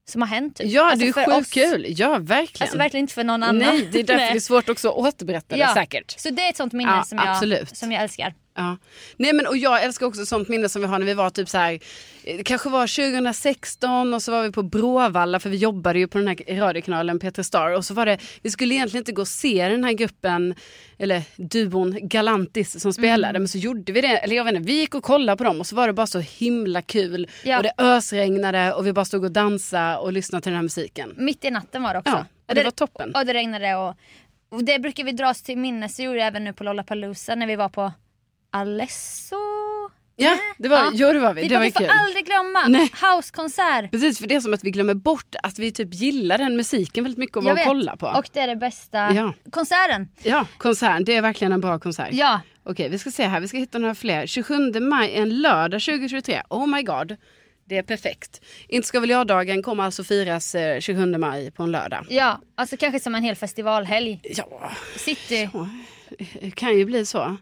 Speaker 2: som har hänt. Typ.
Speaker 1: Ja,
Speaker 2: alltså,
Speaker 1: det är ju
Speaker 2: för
Speaker 1: sjukt
Speaker 2: oss.
Speaker 1: kul. Ja, verkligen.
Speaker 2: Alltså verkligen inte för någon annan.
Speaker 1: Nej, det är därför
Speaker 2: Nej.
Speaker 1: det är svårt också att återberätta det säkert.
Speaker 2: Så det är ett sånt minne
Speaker 1: Ja,
Speaker 2: som, jag,
Speaker 1: absolut.
Speaker 2: som jag älskar.
Speaker 1: Ja. Nej, men, och jag älskar också sånt minne som vi har när vi var typ så här, eh, det kanske var 2016 och så var vi på Bråvalla för vi jobbade ju på den här radiokanalen Peter Star och så var det, vi skulle egentligen inte gå och se den här gruppen, eller duon Galantis
Speaker 2: Mm.
Speaker 1: som spelade, men så gjorde vi det, eller jag vet inte, vi gick och kollade på dem och så var det bara så himla kul
Speaker 2: Ja.
Speaker 1: och det ösregnade och vi bara stod och dansade och lyssnade till den här musiken.
Speaker 2: Mitt i natten var det också.
Speaker 1: Ja, det var toppen.
Speaker 2: Och det regnade och, och det brukar vi dras till minnes. Det gjorde jag även nu på Lollapalooza när vi var på Alesso.
Speaker 1: Ja, det var,
Speaker 2: Ja.
Speaker 1: Jo, det var vi.
Speaker 2: Vi,
Speaker 1: det
Speaker 2: bara,
Speaker 1: var
Speaker 2: vi
Speaker 1: ju
Speaker 2: får
Speaker 1: kul.
Speaker 2: aldrig glömma
Speaker 1: Nej.
Speaker 2: housekonsert.
Speaker 1: Precis, för det är som att vi glömmer bort att vi typ gillar den musiken väldigt mycket och vad
Speaker 2: Jag
Speaker 1: vi
Speaker 2: vet.
Speaker 1: kollar på.
Speaker 2: Och det är det bästa.
Speaker 1: Ja.
Speaker 2: Konserten.
Speaker 1: Ja, konsert. Det är verkligen en bra konsert.
Speaker 2: Ja.
Speaker 1: Okej, vi ska se här. Vi ska hitta några fler. 27 maj, en lördag 2023. Oh my god. Det är perfekt. Inte ska väl jag-dagen kommer alltså firas eh, 27 maj på en lördag.
Speaker 2: Ja, alltså kanske som en hel festivalhelg.
Speaker 1: Ja,
Speaker 2: City.
Speaker 1: det kan ju bli så.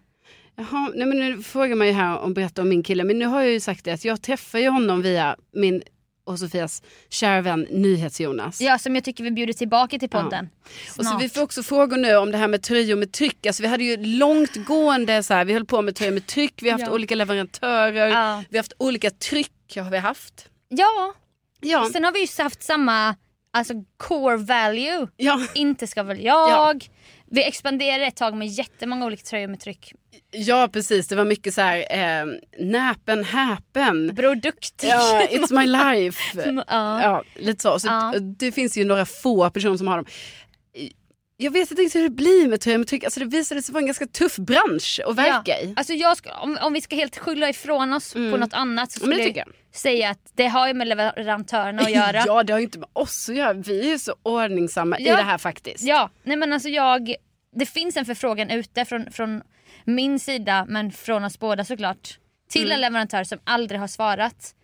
Speaker 1: Jaha, nej men nu frågar man ju här om berätta om min kille. Men nu har jag ju sagt det att jag träffar ju honom via min och Sofias kära vän NyhetsJonas.
Speaker 2: Ja, som jag tycker vi bjuder tillbaka till podden.
Speaker 1: Och så
Speaker 2: Snart.
Speaker 1: Alltså, vi får också frågor nu om det här med tröjor med tryck. Alltså vi hade ju långtgående så här, vi höll på med tröjor med tryck, vi har haft
Speaker 2: Ja.
Speaker 1: olika leverantörer,
Speaker 2: Ja.
Speaker 1: vi har haft olika tryck har vi haft.
Speaker 2: Ja,
Speaker 1: Ja,
Speaker 2: sen har vi ju haft samma alltså, core value.
Speaker 1: ja,
Speaker 2: Inte ska väl jag. Vi expanderade ett tag med jättemånga olika tröjor med tryck.
Speaker 1: ja precis, det var mycket så här eh, näpen häpen.
Speaker 2: Bror duktig.
Speaker 1: Ja, it's my life.
Speaker 2: Ja.
Speaker 1: Ja, lite så. så
Speaker 2: Ja.
Speaker 1: Det finns ju några få personer som har dem. Jag vet inte riktigt hur det blir med tröjor med tryck. Alltså det visade sig vara en ganska tuff bransch att verka i.
Speaker 2: Alltså jag ska, om, om vi ska helt skylla ifrån oss på något annat så
Speaker 1: Ja, Mm. men det
Speaker 2: skulle jag
Speaker 1: tycker jag.
Speaker 2: säga att det har ju med leverantörerna att göra.
Speaker 1: Ja, det har ju inte med oss att göra. Vi är ju så ordningsamma
Speaker 2: Ja.
Speaker 1: i det här faktiskt.
Speaker 2: Ja, nej men alltså jag, det finns en förfrågan ute från, från min sida men från oss båda såklart. Till
Speaker 1: Mm.
Speaker 2: en leverantör som aldrig har svarat.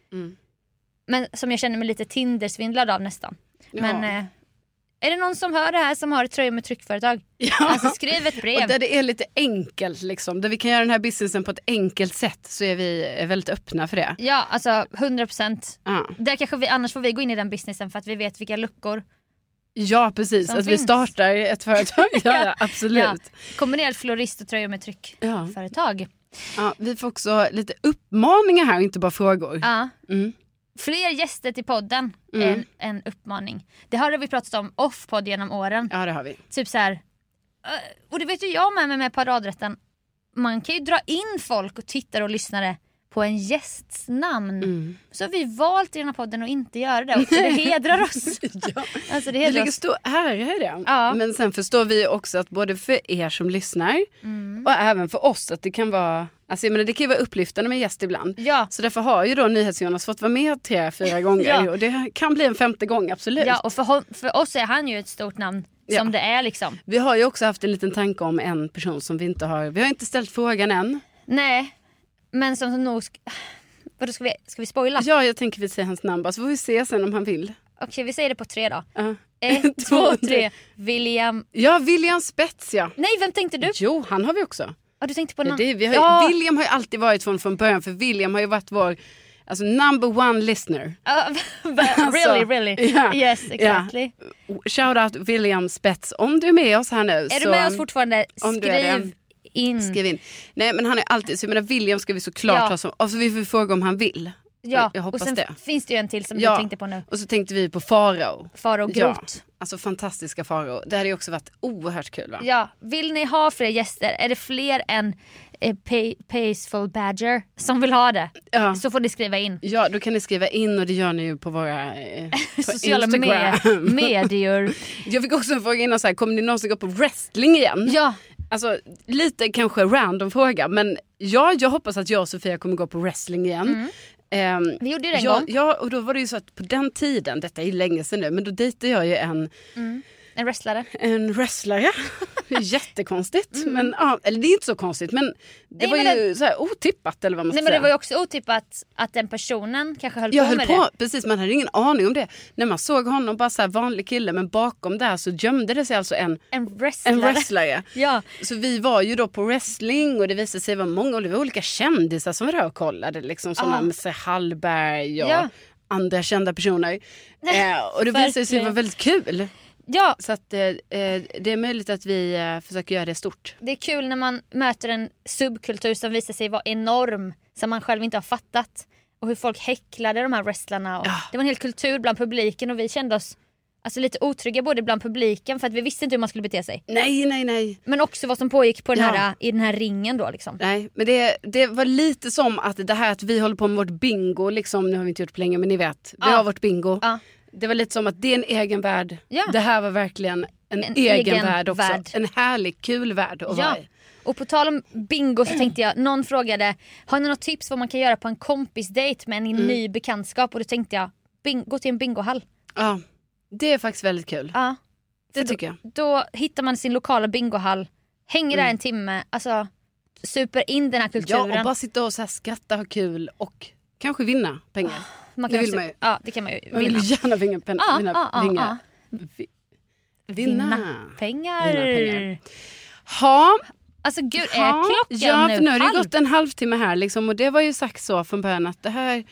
Speaker 2: Men som jag känner mig lite Tindersvindlad av nästan. Men eh, är det någon som hör det här som har ett tröja med tryckföretag? Alltså skriv ett brev.
Speaker 1: Och där det är lite enkelt, liksom, där vi kan göra den här businessen på ett enkelt sätt så är vi eh, väldigt öppna för det.
Speaker 2: Ja, alltså 100%.
Speaker 1: Ja,
Speaker 2: Där kanske vi, annars får vi gå in i den businessen för att vi vet vilka luckor.
Speaker 1: ja precis.
Speaker 2: Som
Speaker 1: att vi
Speaker 2: finns.
Speaker 1: startar ett företag. ja, ja, absolut.
Speaker 2: Ja.
Speaker 1: Ja.
Speaker 2: Kombinerad florist och tröjor med tryckföretag. Ja.
Speaker 1: vi får också lite uppmaningar här, inte bara frågor. Mm.
Speaker 2: Fler gäster till podden är
Speaker 1: Mm.
Speaker 2: en, en uppmaning. Det här har vi pratat om off-podd genom åren.
Speaker 1: Ja, det har vi.
Speaker 2: Typ så här. eh, Och det vet ju jag med mig med paradrätten. Man kan ju dra in folk och tittare och lyssnare på en gästs namn.
Speaker 1: Mm.
Speaker 2: Så har vi valt i den här podden att inte göra det. Och det hedrar oss.
Speaker 1: Ja.
Speaker 2: Alltså
Speaker 1: Det
Speaker 2: det hedrar
Speaker 1: ligger
Speaker 2: oss.
Speaker 1: stor ära i det.
Speaker 2: Ja.
Speaker 1: Men sen förstår vi också att både för er som lyssnar
Speaker 2: Mm.
Speaker 1: och även för oss att det kan vara Alltså jag menar, det kan ju vara upplyftande med en gäst ibland.
Speaker 2: Ja.
Speaker 1: Så därför har ju då NyhetsJonas fått vara med tre, fyra gånger.
Speaker 2: Ja.
Speaker 1: Och det kan bli en femte gång, absolut.
Speaker 2: Ja, och för, hon, för oss är han ju ett stort namn.
Speaker 1: Ja.
Speaker 2: Som det är liksom.
Speaker 1: Vi har ju också haft en liten tanke om en person som vi inte har... Vi har inte ställt frågan än.
Speaker 2: Nej, men som, som nog... sk- Vadå, ska vi, ska vi spoila?
Speaker 1: Ja, jag tänker vi säger hans namn bara så får vi se sen om han vill.
Speaker 2: Okej, vi säger det på tre då.
Speaker 1: Ja.
Speaker 2: Ett, två, tre. William...
Speaker 1: Ja, William Spets ja.
Speaker 2: Nej, vem tänkte du?
Speaker 1: Jo, han har vi också.
Speaker 2: Ja, du tänkte på
Speaker 1: Det, är
Speaker 2: någon...
Speaker 1: det, vi har, ju-
Speaker 2: ja,
Speaker 1: William har ju alltid varit från, från början för William har ju varit vår alltså, number one listener.
Speaker 2: ja, really, really.
Speaker 1: Alltså, ja.
Speaker 2: Yes,
Speaker 1: Ja.
Speaker 2: exactly.
Speaker 1: Shout out William Spets om du är med oss här nu.
Speaker 2: Är du
Speaker 1: så-
Speaker 2: med oss fortfarande?
Speaker 1: om du är det.
Speaker 2: Skriv in.
Speaker 1: Skriv in. Nej men han är alltid, så jag menar William ska vi såklart
Speaker 2: Ja.
Speaker 1: ha som, alltså vi får fråga om han vill.
Speaker 2: Ja,
Speaker 1: jag hoppas
Speaker 2: och sen
Speaker 1: det.
Speaker 2: finns det ju en till som du tänkte på nu.
Speaker 1: Och så tänkte vi på Farao.
Speaker 2: Farao Groth.
Speaker 1: Ja, alltså fantastiska Farao. Det hade ju också varit oerhört kul va?
Speaker 2: Ja, vill ni ha fler gäster? Är det fler än eh, pay, Paceful Badger som vill ha det.
Speaker 1: Ja.
Speaker 2: Så får ni skriva in.
Speaker 1: Ja, då kan ni skriva in och det gör ni ju på våra eh, på
Speaker 2: Sociala med,
Speaker 1: Instagram.
Speaker 2: medier.
Speaker 1: Jag fick också en fråga innan, så här, kommer ni någonsin gå på wrestling igen?
Speaker 2: Ja,
Speaker 1: Alltså lite kanske random fråga men ja, jag hoppas att jag och Sofia kommer gå på wrestling igen. Ehm,
Speaker 2: Mm. vi gjorde ju det en
Speaker 1: ja,
Speaker 2: gång.
Speaker 1: ja, och då var det ju så att på den tiden, detta är ju länge sedan nu, men då dejtade jag ju en,
Speaker 2: En wrestlare.
Speaker 1: en wrestlare. Jättekonstigt. Men, ja, eller det är inte så konstigt men det
Speaker 2: Mm. Nej,
Speaker 1: var
Speaker 2: men
Speaker 1: ju så här otippat eller vad man ska
Speaker 2: Nej men det
Speaker 1: säga.
Speaker 2: var ju också otippat att den personen kanske höll
Speaker 1: jag
Speaker 2: på
Speaker 1: höll
Speaker 2: med
Speaker 1: på,
Speaker 2: det.
Speaker 1: precis man hade ingen aning om det. När man såg honom, bara så här vanlig kille men bakom där så gömde det sig alltså en,
Speaker 2: En wrestlare.
Speaker 1: en wrestlare.
Speaker 2: Ja.
Speaker 1: Så vi var ju då på wrestling och det visade sig vara många och det var olika kändisar som var där och kollade. Liksom sådana
Speaker 2: Ja.
Speaker 1: med sig Hallberg och
Speaker 2: Ja.
Speaker 1: andra kända personer. eh, och det visade sig
Speaker 2: Verkligen.
Speaker 1: vara väldigt kul.
Speaker 2: ja,
Speaker 1: Så att, eh, eh, det är möjligt att vi eh, försöker göra det stort.
Speaker 2: det är kul när man möter en subkultur som visar sig vara enorm. Som man själv inte har fattat. Och hur folk häcklade de här wrestlarna. Och Det var en hel kultur bland publiken och vi kände oss alltså, lite otrygga både bland publiken för att vi visste inte hur man skulle bete sig.
Speaker 1: Nej, nej, nej.
Speaker 2: Men också vad som pågick på den
Speaker 1: Ja.
Speaker 2: här, i den här ringen då liksom.
Speaker 1: Nej, men det, det var lite som att det här att vi håller på med vårt bingo, liksom, nu har vi inte gjort det på länge men ni vet, vi
Speaker 2: Ja.
Speaker 1: har vårt bingo.
Speaker 2: Ja.
Speaker 1: Det var lite som att det är en egen värld.
Speaker 2: Ja.
Speaker 1: Det här var verkligen en,
Speaker 2: En
Speaker 1: egen,
Speaker 2: egen
Speaker 1: värld också.
Speaker 2: värld.
Speaker 1: En härlig, kul värld att
Speaker 2: Ja.
Speaker 1: vara i.
Speaker 2: Och på tal om bingo så tänkte jag, någon frågade har ni något tips vad man kan göra på en kompisdejt med en ny bekantskap? Och då tänkte jag, bing- gå till en bingohall.
Speaker 1: Ja, det är faktiskt väldigt kul.
Speaker 2: Ja.
Speaker 1: det tycker jag.
Speaker 2: Då hittar man sin lokala bingohall, hänger där en timme, alltså super in den här
Speaker 1: Mm. Ja,
Speaker 2: kulturen.
Speaker 1: och bara sitta och så här skratta, ha kul och kanske vinna pengar.
Speaker 2: man
Speaker 1: det
Speaker 2: kan
Speaker 1: vill
Speaker 2: också-
Speaker 1: man ju.
Speaker 2: Ja, det kan man ju
Speaker 1: Man vill
Speaker 2: vinna.
Speaker 1: gärna Ah, vinna Ah, pengar.
Speaker 2: Ja,
Speaker 1: vinna,
Speaker 2: ja, ja,
Speaker 1: vinga- vi- vinna.
Speaker 2: Pengar.
Speaker 1: Vinna pengar. Ha,
Speaker 2: Alltså gud, är
Speaker 1: ha.
Speaker 2: klockan
Speaker 1: Ja, för nu har det
Speaker 2: halv?
Speaker 1: gått en halvtimme här liksom, och det var ju sagt så från början att det här,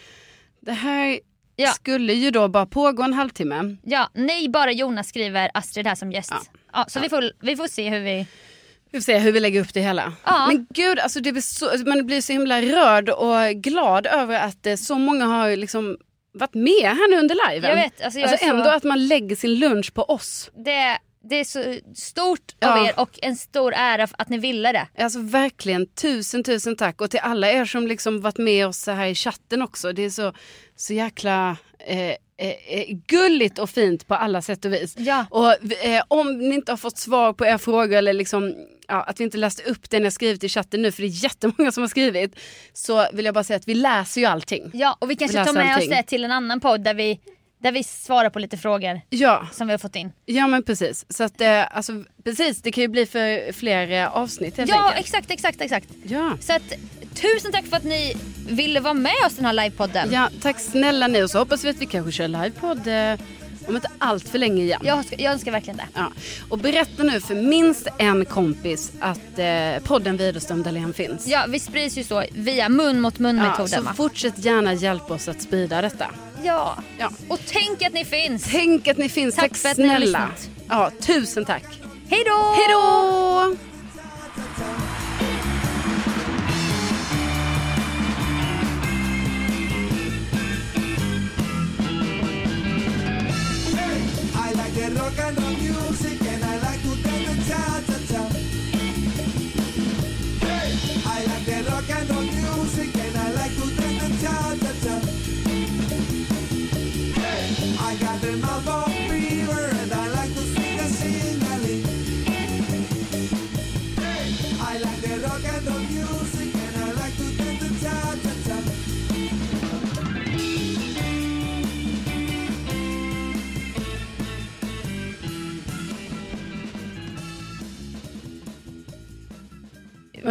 Speaker 1: det här
Speaker 2: Ja.
Speaker 1: skulle ju då bara pågå en halvtimme.
Speaker 2: Ja, nej bara Jonas skriver Astrid här som gäst. Ja.
Speaker 1: Ja.
Speaker 2: så Vi, får, vi får se hur vi...
Speaker 1: Vi får se hur vi lägger upp det hela.
Speaker 2: Ja.
Speaker 1: Men gud, alltså det blir så, man blir så himla rörd och glad över att eh, så många har liksom varit med här nu under liven.
Speaker 2: Jag vet, alltså jag
Speaker 1: alltså
Speaker 2: är så-
Speaker 1: ändå att man lägger sin lunch på oss.
Speaker 2: Det, det är så stort av
Speaker 1: Ja.
Speaker 2: er och en stor ära för att ni ville det.
Speaker 1: Alltså verkligen tusen tusen tack och till alla er som liksom varit med oss så här i chatten också. Det är så, så jäkla eh, eh, eh, gulligt och fint på alla sätt och vis.
Speaker 2: Ja.
Speaker 1: Och vi- eh, om ni inte har fått svar på era frågor eller liksom, ja, att vi inte läste upp det ni har skrivit i chatten nu för det är jättemånga som har skrivit. Så vill jag bara säga att vi läser ju allting.
Speaker 2: Ja, och vi kanske
Speaker 1: Läsa
Speaker 2: tar med
Speaker 1: allting.
Speaker 2: oss det till en annan podd där vi, där vi svarar på lite frågor
Speaker 1: Ja,
Speaker 2: som vi har fått in.
Speaker 1: ja men precis. Så att, eh, alltså, precis, det kan ju bli för fler eh, avsnitt helt
Speaker 2: Ja,
Speaker 1: enkelt.
Speaker 2: exakt, exakt, exakt.
Speaker 1: Ja.
Speaker 2: Så att, tusen tack för att ni ville vara med oss i den här livepodden.
Speaker 1: Ja, tack snälla ni och så hoppas vi att vi kanske kör livepodd eh, om inte allt för länge igen.
Speaker 2: Jag, jag önskar verkligen det.
Speaker 1: Ja. Och berätta nu för minst en kompis att eh, podden Widerström Dahlén finns.
Speaker 2: Ja, vi sprids ju så via mun mot mun-metoden.
Speaker 1: så
Speaker 2: va?
Speaker 1: fortsätt gärna hjälpa oss att sprida detta.
Speaker 2: ja.
Speaker 1: Ja.
Speaker 2: Och tänk att ni finns.
Speaker 1: Tänk att ni finns,
Speaker 2: Tack
Speaker 1: tack,
Speaker 2: för att ni har
Speaker 1: snälla.
Speaker 2: lyssnat.
Speaker 1: Ja, tusen tack.
Speaker 2: Hej då!
Speaker 1: Hej då!
Speaker 3: I like the rock and roll music and I like to dance the cha cha cha. Hey! I like the rock and roll music and I like to dance the cha cha cha. Hey! I got the mouth of fever and I like to sing the singing. Hey! I like the rock and roll music and I like to dance the cha cha cha.
Speaker 1: Jag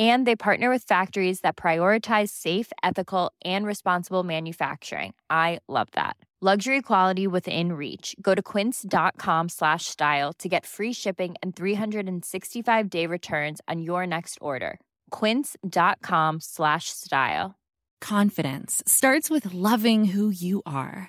Speaker 4: And they partner with factories that prioritize safe, ethical, and responsible manufacturing. I love that. Luxury quality within reach. Go to quince.com slash style to get free shipping and 365 day returns on your next order. Quince.com slash style.
Speaker 5: Confidence starts with loving who you are.